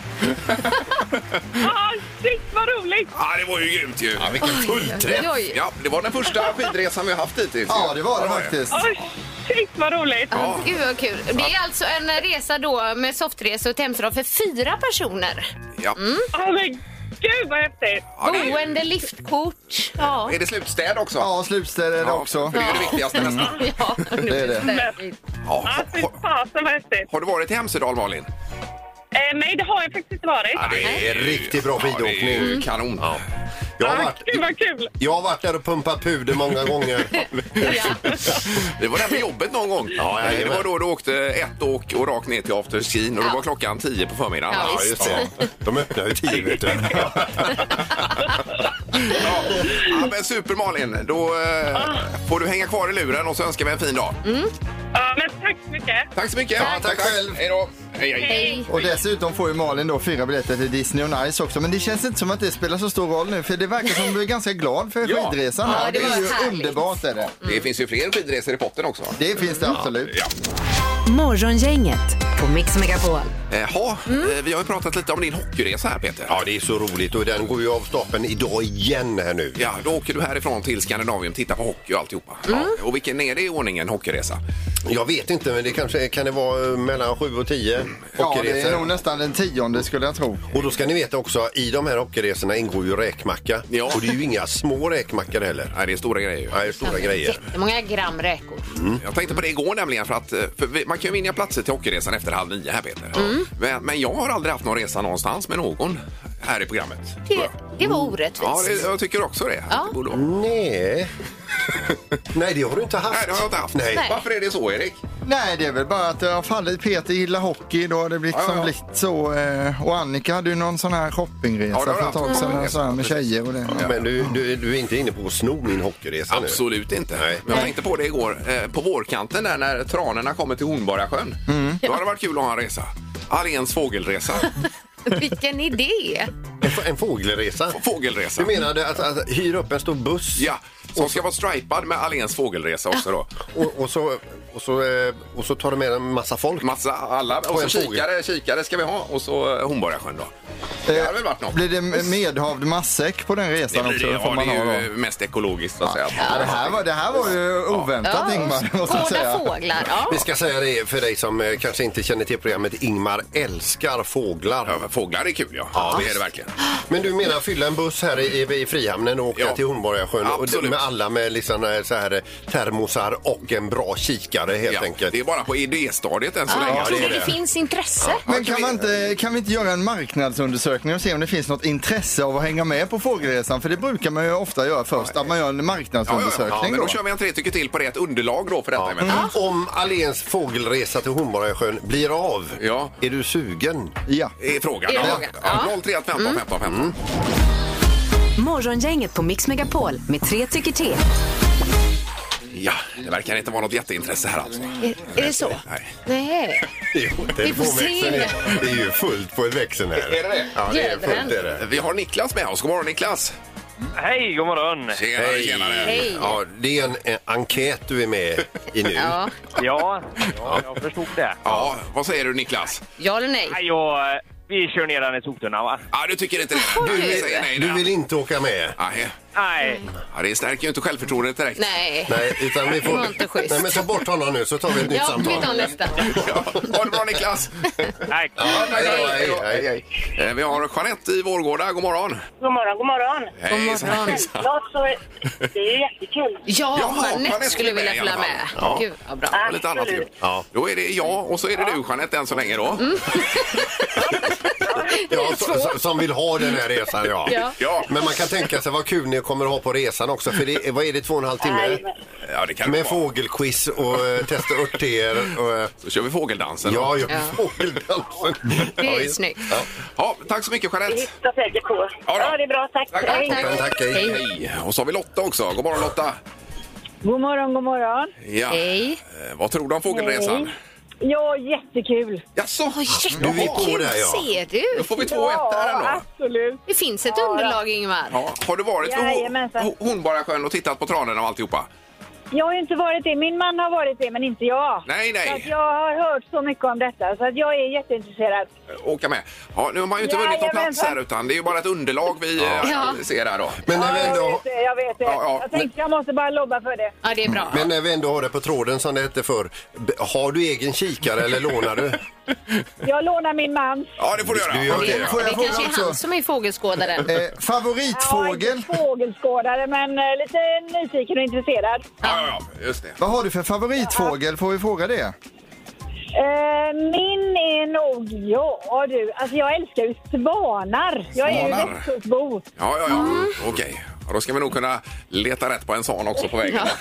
Speaker 2: Ja, shit vad roligt!
Speaker 4: Ja, det var ju grymt ju. Ja,
Speaker 6: Vilken fullträff.
Speaker 5: Oj, oj.
Speaker 4: Ja, det var den första skidresan vi har haft hittills.
Speaker 7: ja det var det faktiskt.
Speaker 2: Oj, shit vad roligt!
Speaker 4: Ja.
Speaker 5: Gud vad kul. Det är alltså en resa då med softresa och Hemsedal för fyra personer.
Speaker 4: Ja.
Speaker 2: Ja, men gud vad häftigt!
Speaker 4: Ja, det är,
Speaker 5: Boende, liftkort. Ja.
Speaker 4: ju- är det slutstäd också?
Speaker 7: Ja, slutstäder är det
Speaker 4: Ja,
Speaker 7: också.
Speaker 4: För det är ju det viktigaste nästan.
Speaker 5: Ja,
Speaker 7: Det är det.
Speaker 4: Ja.
Speaker 2: Ja, fy
Speaker 4: Har,
Speaker 2: fasen vad häftigt!
Speaker 4: har du varit i Hemsedal, Malin?
Speaker 2: Eh, nej, det har jag faktiskt inte varit.
Speaker 4: Ja, det är
Speaker 6: Riktigt bra
Speaker 4: Ja, det är
Speaker 6: skidåkning.
Speaker 4: ju kanon. Ja.
Speaker 6: Jag har
Speaker 2: Ah,
Speaker 6: varit,
Speaker 2: gud vad kul!
Speaker 6: jag har varit där och pumpat puder många gånger.
Speaker 4: Vi var där på jobbet någon gång.
Speaker 6: Ja, jajamän.
Speaker 4: det var då du åkte ett åk och rakt ner till afterskin och då var klockan tio på förmiddagen.
Speaker 5: Ja,
Speaker 6: Ja, just det. De öppnar ju tio, vet du.
Speaker 4: Ja, ja men super Malin. Då
Speaker 2: Ah.
Speaker 4: eh, får du hänga kvar i luren och så önskar vi en fin dag.
Speaker 2: Mm. Ja, men tack så mycket.
Speaker 4: Tack så mycket.
Speaker 7: Ja, tack själv.
Speaker 4: Hej då. Hej, hej.
Speaker 5: Hej.
Speaker 7: Och dessutom får ju Malin då fyra biljetter till Disney on Ice också. Men det känns inte som att det spelar så stor roll nu för det verkar som du är ganska glad för
Speaker 4: Ja.
Speaker 7: skidresan.
Speaker 5: Ja,
Speaker 7: här.
Speaker 5: det
Speaker 7: det är
Speaker 5: var
Speaker 7: ju
Speaker 5: härligt.
Speaker 7: underbart är det.
Speaker 4: Det
Speaker 2: Mm.
Speaker 4: finns ju fler skidresor i potten också.
Speaker 7: Det finns det absolut.
Speaker 4: Ja.
Speaker 3: Morgongänget på Mix Megapol.
Speaker 4: Eh, ha,
Speaker 2: Mm.
Speaker 4: eh, vi har ju pratat lite om din hockeyresa här Peter.
Speaker 6: Ja, det är så roligt och den går ju av stapeln idag igen här nu.
Speaker 4: Ja, då åker du härifrån till Skandinavien, tittar på hockey och alltihopa.
Speaker 2: Mm.
Speaker 4: Ja. Och vilken är det i ordningen hockeyresa?
Speaker 6: Jag vet inte, men det kanske kan det vara eh, mellan 7 och 10
Speaker 7: Ja,
Speaker 4: Mm.
Speaker 7: det är nog
Speaker 6: hockeyresor.
Speaker 7: nästan den tionde skulle jag tro.
Speaker 6: Och då ska ni veta också, i de här hockeyresorna ingår ju räkmacka.
Speaker 4: Ja.
Speaker 6: Och det är ju inga små räkmackor heller.
Speaker 4: Nej, det är stora grejer ju.
Speaker 6: Nej, stora grejer. Mm.
Speaker 5: Jättemånga gram räkor.
Speaker 4: Jag tänkte på det igår nämligen för att eh, för vi- man kan ju vinna platser till hockeyresan efter halv nio här Peter.
Speaker 2: Mm.
Speaker 4: Men, men jag har aldrig haft någon resa någonstans med någon här i programmet.
Speaker 5: Det, det var
Speaker 4: Ja, det,
Speaker 5: orättvist.
Speaker 4: jag tycker också det.
Speaker 5: Ja.
Speaker 4: Det borde
Speaker 6: Mm.
Speaker 4: vara.
Speaker 6: Nej. Nej, det har du inte haft.
Speaker 4: Nej, det har jag inte haft.
Speaker 6: Nej.
Speaker 5: Nej.
Speaker 4: Varför är det så Erik?
Speaker 7: Nej, det är väl bara att det har fallit. Peter gillar hockey, då har det blivit
Speaker 4: Ja, ja,
Speaker 7: som
Speaker 4: ja.
Speaker 7: blivit så. eh, Och Annika hade ju någon sån här shoppingresa
Speaker 4: Ja, det har
Speaker 7: för ett
Speaker 4: jag
Speaker 7: tag
Speaker 4: haft.
Speaker 7: sedan så här med tjejer och det.
Speaker 6: Men du, du, du är inte inne på att sno min hockeyresa nu?
Speaker 4: Absolut inte.
Speaker 6: Nej.
Speaker 4: Men jag tänkte på det igår. Eh, på vårkanten där när tranorna kommer till Hornborgasjön. Då hade det varit kul att ha en resa. Alens fågelresa.
Speaker 5: Vilken idé!
Speaker 6: En, f- en fågelresa?
Speaker 4: fågelresa.
Speaker 6: Du menade att, att hyra upp en stor buss
Speaker 4: Ja, som ska vara stripad med Alens fågelresa också då.
Speaker 6: och, och, så, och, så, eh, och så tar du med en massa folk?
Speaker 4: Massa alla. Och så
Speaker 6: en fågel.
Speaker 4: kikare, kikare ska vi ha. Och så eh, Hornborgasjön då. Det hade väl varit något.
Speaker 7: Eh, Blir det medhavd matsäck på den
Speaker 4: Det
Speaker 7: resan
Speaker 4: blir
Speaker 7: också?
Speaker 4: det,
Speaker 7: får
Speaker 4: ja,
Speaker 7: man
Speaker 4: det
Speaker 7: ha
Speaker 4: är
Speaker 7: då.
Speaker 4: ju mest ekologiskt så att säga.
Speaker 7: Ja, det, här var, det här var ju oväntat Ingmar, måste jag
Speaker 5: Båda
Speaker 7: säga.
Speaker 5: fåglar. Ja.
Speaker 6: Vi ska säga det för dig som eh, kanske inte känner till programmet. Ingmar älskar fåglar.
Speaker 4: Ja, men fåglar är kul ja. det är det verkligen.
Speaker 6: Men du menar fylla en buss här i, i Frihamnen och åka
Speaker 4: Ja.
Speaker 6: till Hornborgasjön och
Speaker 4: Absolut.
Speaker 6: med alla med liksom eh, så här eh, termosar och en bra kikare helt
Speaker 4: Ja,
Speaker 6: enkelt.
Speaker 4: det är bara på idéstadiet än så
Speaker 5: Ja,
Speaker 4: länge.
Speaker 5: jag
Speaker 6: det
Speaker 5: trodde
Speaker 6: är
Speaker 5: det,
Speaker 6: det.
Speaker 5: finns intresse.
Speaker 7: Men kan, man inte, kan vi inte göra en marknadsundersökning och se om det finns något intresse av att hänga med på fågelresan? För det brukar man ju ofta göra först, att man gör en
Speaker 4: Ja, ja, ja. Ja,
Speaker 7: marknadsundersökning
Speaker 4: men då
Speaker 7: då.
Speaker 4: kör vi en tre tycker till på det, ett underlag då för detta. Ja.
Speaker 6: Om Alens fågelresa till Hornborgasjön blir av,
Speaker 4: Ja.
Speaker 6: är du sugen?
Speaker 7: Ja.
Speaker 4: Är frågan.
Speaker 5: Det är
Speaker 4: Ja.
Speaker 5: frågan.
Speaker 4: Ja. 03 15 15 15.
Speaker 3: Morgongänget på Mix Megapol med tre tycker till.
Speaker 4: Ja, det verkar inte vara något jätteintresse här alltså.
Speaker 5: Är, är det så?
Speaker 4: Nej.
Speaker 5: Nej.
Speaker 6: Jo,
Speaker 5: Vi får se.
Speaker 6: telefonväxeln är, det är ju fullt på växeln här.
Speaker 4: Är det det?
Speaker 6: Ja, det är
Speaker 5: Jädrar.
Speaker 6: fullt är det.
Speaker 4: Vi har Niklas med oss. God morgon Niklas!
Speaker 8: Hej, god morgon!
Speaker 4: Tjenare, tjenare!
Speaker 5: Hej.
Speaker 6: Ja, det är en, en enkät du är med i nu.
Speaker 5: Ja.
Speaker 8: Ja, ja jag förstod det.
Speaker 4: Ja, vad säger du Niklas?
Speaker 5: ja eller nej?
Speaker 8: Nej, Jag, vi kör ner den i soporna, va?
Speaker 4: Ja, du tycker inte det?
Speaker 5: Oj.
Speaker 4: Du säger nej.
Speaker 6: Du
Speaker 4: där.
Speaker 6: vill inte åka med?
Speaker 4: Nej.
Speaker 8: Nej.
Speaker 4: Ja, det stärker ju inte självförtroendet direkt.
Speaker 5: Nej.
Speaker 6: Nej, utan vi får...
Speaker 5: Det var inte schysst.
Speaker 6: Nej, men ta bort honom nu så tar vi ett nytt
Speaker 5: Ja, vi
Speaker 6: samtal.
Speaker 5: tar nästa.
Speaker 4: Ja, ha det bra Niklas!
Speaker 8: Nej.
Speaker 4: Tack,
Speaker 6: Hej,
Speaker 4: tack.
Speaker 6: hej, hej, hej.
Speaker 4: Eh, Vi har Jeanette i Vårgårda. God morgon!
Speaker 2: God morgon, god morgon.
Speaker 4: Hejsan,
Speaker 5: morgon.
Speaker 4: hejsan.
Speaker 2: Självklart så är det är ju jättekul.
Speaker 5: Ja,
Speaker 4: Jaha,
Speaker 5: Jeanette skulle vilja
Speaker 4: i alla
Speaker 5: följa med.
Speaker 4: fall. Ja.
Speaker 5: Gud, vad bra.
Speaker 4: Och lite annat kul.
Speaker 2: Absolut.
Speaker 4: Ja. Då är det jag och så är det du Jeanette än så länge då.
Speaker 6: Ja, så- så- som vill ha den här resan, ja.
Speaker 5: Ja.
Speaker 4: Ja.
Speaker 6: Men man kan tänka sig vad kul ni kommer att ha på resan också. För det, är- vad är det, två och en halv timme?
Speaker 2: Nej,
Speaker 4: Ja, det kan det
Speaker 6: Med
Speaker 4: vara.
Speaker 6: fågelquiz och eh, testa örter. Och, eh,
Speaker 4: Så kör vi fågeldansen. då.
Speaker 6: ja, ja, fågeldansen.
Speaker 5: Det är snyggt.
Speaker 4: Ja, tack så mycket
Speaker 2: Vi
Speaker 4: Jeanette!
Speaker 2: hittar säkert på.
Speaker 4: Ja, då.
Speaker 2: Ja, det är bra. Tack.
Speaker 4: Tack,
Speaker 2: Hej.
Speaker 6: Toppen, tack. Hej.
Speaker 5: Hej.
Speaker 4: Hej! Och så har vi Lotta också. God morgon Lotta!
Speaker 12: God morgon, god morgon.
Speaker 4: Ja.
Speaker 5: Hej.
Speaker 4: Eh, Vad tror du om fågelresan?
Speaker 12: Ja, jättekul.
Speaker 4: Jaså?
Speaker 6: Nu är vi på det, ja.
Speaker 5: Ser du?
Speaker 4: Då får vi 2-1 här ändå.
Speaker 12: absolut.
Speaker 5: Det finns ett
Speaker 12: Ja,
Speaker 5: underlag, Ingmar.
Speaker 4: Ja, har du varit på
Speaker 12: Jajamensan.
Speaker 4: Ho- Hornborgasjön och tittat på tranorna och alltihopa?
Speaker 12: Jag har ju inte varit det. Min man har varit det, men inte jag.
Speaker 4: Nej, nej.
Speaker 12: Så att jag har hört så mycket om detta, så att jag är jätteintresserad.
Speaker 4: Eh, Åka med. Ja, nu har man ju inte vunnit någon plats
Speaker 12: Jajamensan.
Speaker 4: här utan det är ju bara ett underlag vi eh,
Speaker 5: Ja.
Speaker 4: ser här då.
Speaker 6: Men när vi
Speaker 12: Ja, jag
Speaker 6: ändå,
Speaker 12: vet det. Jag, vet det.
Speaker 4: Ja, ja,
Speaker 12: jag tänkte jag måste bara lobba för det.
Speaker 5: Ja, det är bra.
Speaker 6: men när vi ändå har det på tråden som det hette förr. b- Har du egen kikare eller lånar du?
Speaker 12: Jag lånar min mans.
Speaker 4: Ja, det får du göra.
Speaker 6: Du gör
Speaker 5: Det,
Speaker 6: det, ja.
Speaker 7: Får jag
Speaker 5: det
Speaker 7: fråga
Speaker 5: kanske är han
Speaker 7: också?
Speaker 5: som är fågelskådaren.
Speaker 7: Eh,
Speaker 12: Ja,
Speaker 7: favoritfågel?
Speaker 12: inte fågelskådare, men eh, lite nyfiken och intresserad.
Speaker 4: Ja, ja, ja, just det.
Speaker 7: Vad har du för favoritfågel? Får vi fråga det?
Speaker 12: Eh, min är nog... Ja, du. Alltså, jag älskar ju svanar. Jag är ju
Speaker 4: Svanar?
Speaker 12: västkustbo.
Speaker 4: Ja, ja, ja. Okej. då ska vi nog kunna leta rätt på en sån också på vägen.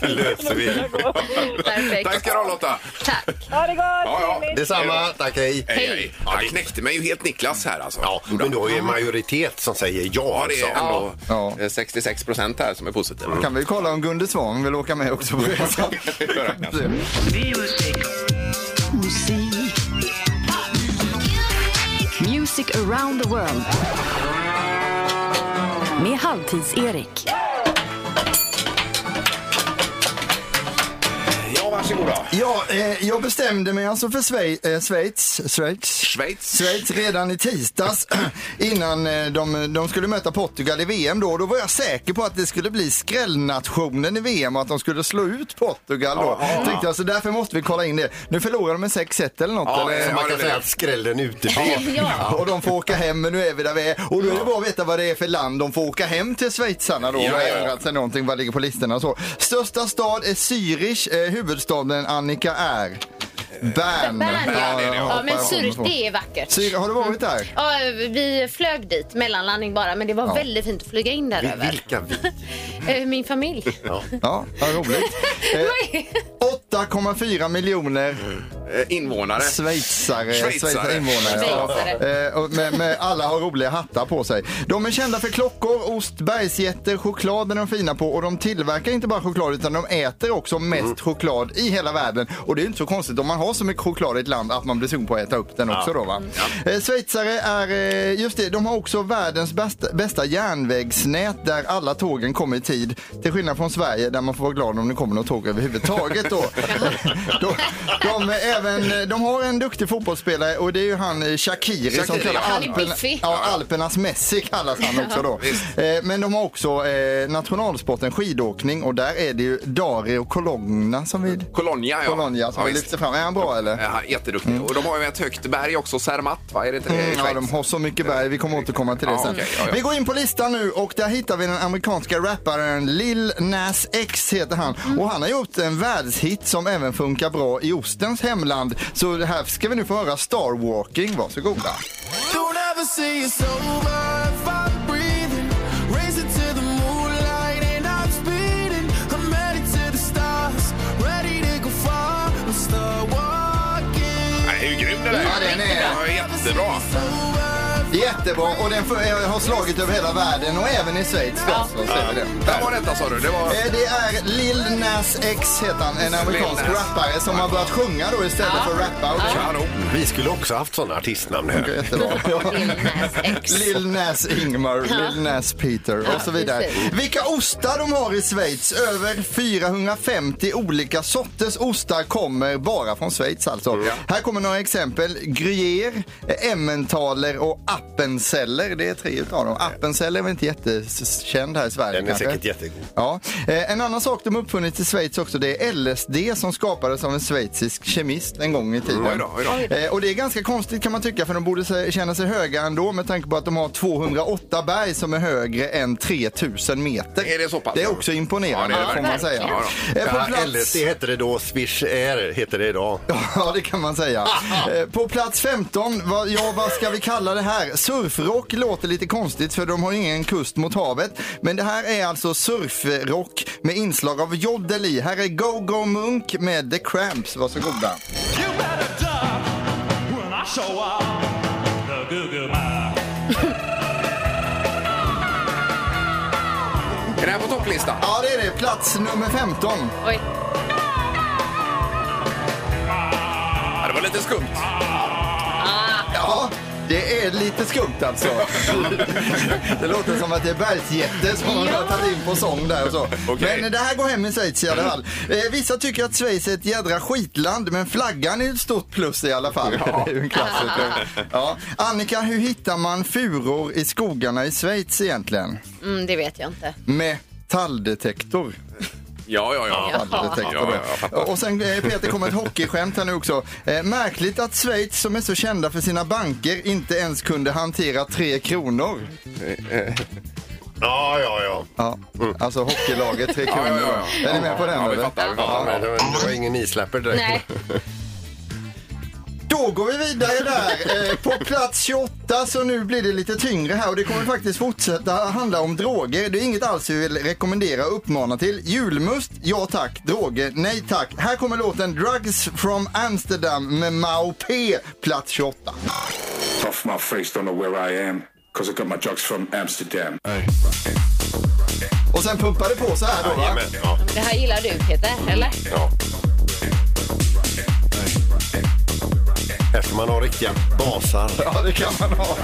Speaker 4: det löser vi.
Speaker 5: Perfekt.
Speaker 4: Tack ska du ha Lotta.
Speaker 12: Ha det gott!
Speaker 4: Ja, ja. Eh,
Speaker 6: Detsamma, tack hej.
Speaker 4: Hej, hej. Ja, det knäckte mig ju helt Niklas här alltså.
Speaker 6: Ja, men då är ju en majoritet som säger ja.
Speaker 4: Ja, det är
Speaker 6: alltså.
Speaker 4: ändå eh, 66 procent här som är positiva.
Speaker 7: Kan vi kolla om Gunde Svang vill åka med också på resan?
Speaker 3: Music around the world. Med Halvtids-Erik.
Speaker 4: Ja, varsågoda.
Speaker 7: Ja, eh, jag bestämde mig alltså för Sve- eh, Schweiz, Schweiz,
Speaker 4: Schweiz.
Speaker 7: Schweiz redan i tisdags innan eh, de, de skulle möta Portugal i VM då. Då var jag säker på att det skulle bli skrällnationen i VM och att de skulle slå ut Portugal då. Tänkte jag, så därför måste vi kolla in det. Nu förlorade de med 6-1 eller något.
Speaker 4: Ja,
Speaker 7: eller?
Speaker 4: eh,
Speaker 6: Så man
Speaker 4: Ja,
Speaker 6: kan
Speaker 4: det
Speaker 6: säga
Speaker 4: är-
Speaker 6: att skrällen uteblir.
Speaker 5: Ja.
Speaker 7: Och de får åka hem, men nu är vi där vi är. Och då är det bara att veta vad det är för land de får åka hem till schweizarna då.
Speaker 4: Ja,
Speaker 7: Ja,
Speaker 4: ja.
Speaker 7: ändrat sig någonting, vad ligger på listorna och så. Största stad är Zürich, eh, huvudstaden Annika är Bern.
Speaker 5: Bern,
Speaker 4: Ja,
Speaker 5: ja.
Speaker 4: det är det.
Speaker 5: ja, men
Speaker 7: hoppar jag på.
Speaker 5: Zürich, det är vackert.
Speaker 7: Zürich, har du varit där?
Speaker 5: Ja, vi flög dit, mellanlandning bara, men det var
Speaker 7: Ja.
Speaker 5: väldigt fint att flyga in där över.
Speaker 6: Vilka vi?
Speaker 5: Eh, Min familj.
Speaker 7: Ja, vad roligt. Eh, 8,4 miljoner
Speaker 4: Eh, Invånare.
Speaker 7: schweizare,
Speaker 4: Schweizare.
Speaker 7: schweizare invånare.
Speaker 5: Schweizare.
Speaker 7: Eh, och med, med alla har roliga hattar på sig. De är kända för klockor, ost, bergsgetter, choklad är de fina på och de tillverkar inte bara choklad utan de äter också mest choklad i hela världen. Och det är ju inte så konstigt om man har så mycket choklad i ett land att man blir sugen på att äta upp den också då va. Eh, schweizare är, eh, just det, de har också världens bästa, bästa järnvägsnät där alla tågen kommer i tid. Till skillnad från Sverige där man får vara glad om det kommer något tåg överhuvudtaget då. de, de, är även, de har en duktig fotbollsspelare och det är ju han eh, Shakiri som
Speaker 4: Shakiri,
Speaker 7: kallar
Speaker 4: ja.
Speaker 5: Han är biffig.
Speaker 7: ja, Alpernas Messi kallas han också då. Eh, Men de har också eh, nationalsporten skidåkning och där är det ju Dario Colonna som vi,
Speaker 4: Colonia, ja.
Speaker 7: Colonia som
Speaker 4: ja,
Speaker 7: vi
Speaker 4: visst. Eh,
Speaker 7: lyfter fram. Är han bra eller?
Speaker 4: Ja, jätteduktig. Och de har ju ett högt berg också, Zermatt, va? Är det inte det? i
Speaker 7: Mm, ja,
Speaker 4: Schweiz?
Speaker 7: de har så mycket berg. Vi kommer återkomma till det
Speaker 4: Ja,
Speaker 7: sen.
Speaker 4: okej, ja, ja.
Speaker 7: Vi går in på listan nu och där hittar vi den amerikanska rapparen Lil Nas X heter han.
Speaker 4: Mm.
Speaker 7: Och han har gjort en världshit som även funkar bra i ostens hemland. Så det här ska vi nu få höra Star Walking. Varsågoda.
Speaker 13: Don't ever say it's over if I'm breathing. Racing to the moonlight and I'm speeding. I'm headed to the stars, ready to go far. I'm star walking.
Speaker 4: Nej, hur grym den är!
Speaker 7: Ja, den är-
Speaker 4: Ja, jättebra!
Speaker 7: Jättebra och den får- eh, har slagit över hela världen och även i Schweiz. då, så säger vi det.
Speaker 4: Vem var detta sa du? Det var...
Speaker 7: Eh, Det är Lil Nas X heter han, en amerikansk
Speaker 4: Nas.
Speaker 7: rappare som har börjat sjunga då istället för att rappa. Och det
Speaker 4: Kanon!
Speaker 6: Vi skulle också haft sådana artistnamn
Speaker 7: funkar
Speaker 6: här.
Speaker 7: jättebra.
Speaker 5: Nas X.
Speaker 7: Lil Nas Ingmar, Lil Nas Peter och så vidare.
Speaker 5: precis.
Speaker 7: Vilka ostar de har i Schweiz? Över 450 olika sorters ostar kommer bara från Schweiz alltså. Här kommer några exempel. Gruyère, emmentaler och appenzeller. Det är tre utav dem. Appenzeller är väl inte jättekänd här i Sverige
Speaker 6: Den är
Speaker 7: kanske?
Speaker 6: säkert jättegod.
Speaker 7: Ja. Eh, En annan sak de uppfunnit i Schweiz också det är LSD som skapades av en schweizisk kemist en gång i tiden.
Speaker 4: Oj då, oj då.
Speaker 7: Eh, Och det är ganska konstigt kan man tycka för de borde se- känna sig höga ändå med tanke på att de har 208 berg som är högre än 3000 meter.
Speaker 4: Är det så pass?
Speaker 7: Det är också imponerande
Speaker 4: Ja, det
Speaker 7: får
Speaker 4: är det
Speaker 7: man säga.
Speaker 4: verkligen.
Speaker 7: Eh, på
Speaker 6: Ja,
Speaker 7: plats-
Speaker 6: LSD hette det då, Swish Air heter det idag.
Speaker 7: Ja, det kan man säga. Eh, På plats 15, vad, ja, vad ska vi kalla det här? Surfrock låter lite konstigt för de har ingen kust mot havet. Men det här är alltså surfrock med inslag av jodel i. Här är Go-Go Munk med The Cramps. Varsågoda.
Speaker 13: You better duck when I show up. The goo goo mile.
Speaker 4: Är det här på topplistan?
Speaker 7: Ja, det är det. Plats nummer 15.
Speaker 5: Oj.
Speaker 4: Ja, det var lite skumt.
Speaker 7: Ja, det är lite skumt alltså. det låter som att det är bergsjätte som man har tagit in på sång där och så.
Speaker 4: Okej.
Speaker 7: Men det här går hem i Schweiz i alla fall. Eh, vissa tycker att Schweiz är ett jädra skitland, men flaggan är ett stort plus i alla fall. det är ju en klassiker. Ja. Annika, hur hittar man furor i skogarna i Schweiz egentligen?
Speaker 5: Mm, det vet jag inte.
Speaker 7: Med talldetektor.
Speaker 4: Ja, ja, ja.
Speaker 5: Ja.
Speaker 7: Talldetektor.
Speaker 4: Ja, ja, jag fattar.
Speaker 7: och sen eh, Peter kommer ett hockeyskämt här nu också. Eh, märkligt att Schweiz som är så kända för sina banker inte ens kunde hantera tre kronor.
Speaker 6: Ja, ja, ja.
Speaker 7: Ja, alltså hockeylaget tre
Speaker 4: Mm. Ja,
Speaker 7: kronor.
Speaker 4: ja, ja, ja.
Speaker 7: Är ni med på den
Speaker 4: Ja, vi
Speaker 7: eller?
Speaker 4: fattar. Vi fattar.
Speaker 6: Men Det var ingen islapper direkt.
Speaker 5: Nej.
Speaker 7: Då Då går vi vidare där. Eh, På plats 28 så nu blir det lite tyngre här och det kommer faktiskt fortsätta handla om droger. Det är inget alls vi vill rekommendera och uppmana till. Julmust, ja tack. Droger, nej tack. Här kommer låten Drugs from Amsterdam med Mao P. Plats 28.
Speaker 14: Off my face, don't know where I am, cause I got my drugs from Amsterdam.
Speaker 7: Och sen pumpar det på så här då va?
Speaker 5: Det här gillar du Peter, eller?
Speaker 4: Ja.
Speaker 6: Här ska man ha riktiga basar.
Speaker 7: Ja, det kan man ha.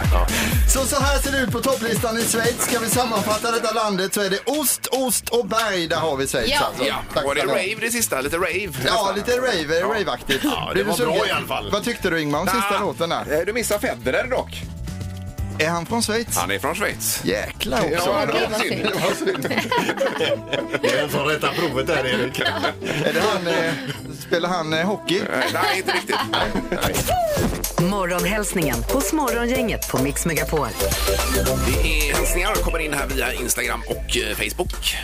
Speaker 7: Så, så här ser det ut på topplistan i Schweiz. Ska vi sammanfatta detta landet så är det ost, ost och berg. Där har vi Schweiz
Speaker 4: Ja.
Speaker 7: alltså.
Speaker 4: Ja.
Speaker 7: Tack
Speaker 4: Var det
Speaker 7: ska ni ha.
Speaker 4: rave det sista? Lite rave?
Speaker 7: Ja,
Speaker 4: nästan.
Speaker 7: lite rave,
Speaker 4: Ja.
Speaker 7: raveaktigt.
Speaker 4: Ja, det
Speaker 7: Blev du
Speaker 4: var bra
Speaker 7: sugen?
Speaker 4: i alla fall. Ah.
Speaker 7: Vad tyckte du Ingmar om sista låten där?
Speaker 4: Eh, Du missade Federer dock.
Speaker 7: Är han från Schweiz?
Speaker 4: Han är från Schweiz.
Speaker 7: Jäklar också.
Speaker 4: Ja, det var synd. Det var synd.
Speaker 6: Det är en som rättar provet där, Erik.
Speaker 7: Är det han, eh, spelar han eh, hockey?
Speaker 4: Nej, inte riktigt.
Speaker 3: Morgonhälsningen hos Morgongänget på Mix Megapol.
Speaker 4: Det är hälsningar som kommer in här via Instagram och eh, Facebook.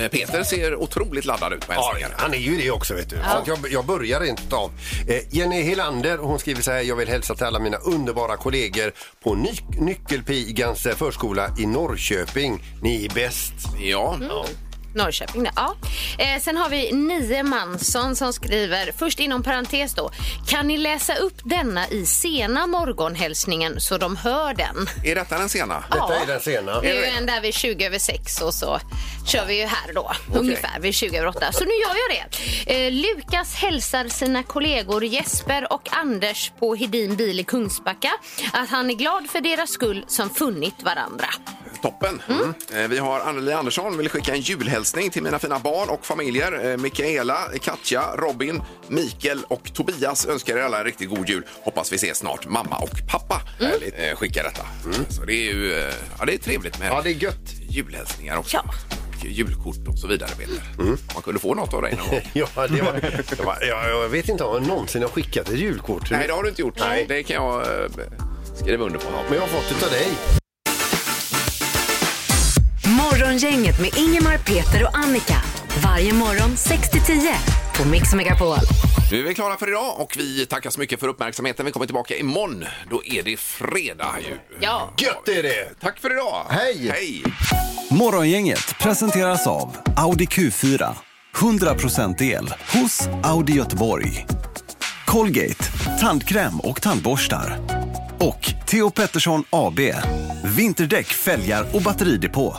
Speaker 4: Eh, Peter ser otroligt laddad ut på
Speaker 6: Ja,
Speaker 4: hälsningarna.
Speaker 6: han är ju det också vet du. Så att jag, jag börjar inte av. Eh, Jenny Helander hon skriver så här. Jag vill hälsa till alla mina underbara kollegor på ny Nyckelpigans eh, förskola i Norrköping. Ni är bäst.
Speaker 4: Ja.
Speaker 5: Norrköping. där. Ja. Eh, sen har vi Nio Mansson som skriver, först inom parentes då. Kan ni läsa upp denna i sena morgonhälsningen så de hör den?
Speaker 4: Är detta den sena?
Speaker 5: Detta
Speaker 6: är den sena.
Speaker 5: Det är ju en där vid 20 över 6 och så kör vi ju här då. Ungefär vid 20 över 8. Så nu gör jag det. Eh, Lukas hälsar sina kollegor Jesper och Anders på Hedin bil i Kungsbacka att han är glad för deras skull som funnit varandra.
Speaker 4: Toppen. Eh, Vi har Anneli Andersson vill skicka en julhälsning till mina fina barn och familjer. Eh, Mikaela, Katja, Robin, Mikael och Tobias önskar er alla en riktigt god jul. Hoppas vi ses snart, mamma och pappa. Härligt. Eh, Skicka detta. Så det är ju eh, ja, det är trevligt med
Speaker 6: Ja, det är gött.
Speaker 4: julhälsningar också. Och julkort och så vidare. Peter. Man kunde få något av dig någon gång.
Speaker 6: Ja, det var, det var, jag, jag vet inte om jag någonsin har skickat ett julkort.
Speaker 4: Nej, det har du inte gjort.
Speaker 6: Nej.
Speaker 4: Det kan jag eh, skriva under på.
Speaker 6: Men jag har fått det av dig.
Speaker 3: Morgongänget med Ingemar, Peter och Annika. Varje morgon 6 till 10 på Mix Megapol.
Speaker 4: Nu är vi klara för idag och vi tackar så mycket för uppmärksamheten. Vi kommer tillbaka imorgon. Då är det fredag ju.
Speaker 5: Ja.
Speaker 6: Gött är det!
Speaker 4: Tack för idag! Hej! Hej!
Speaker 15: Morgongänget presenteras av Audi Q4. 100% el hos Audi Göteborg. Colgate, tandkräm och tandborstar. Och Theo Pettersson AB, vinterdäck, fälgar och batteridepå.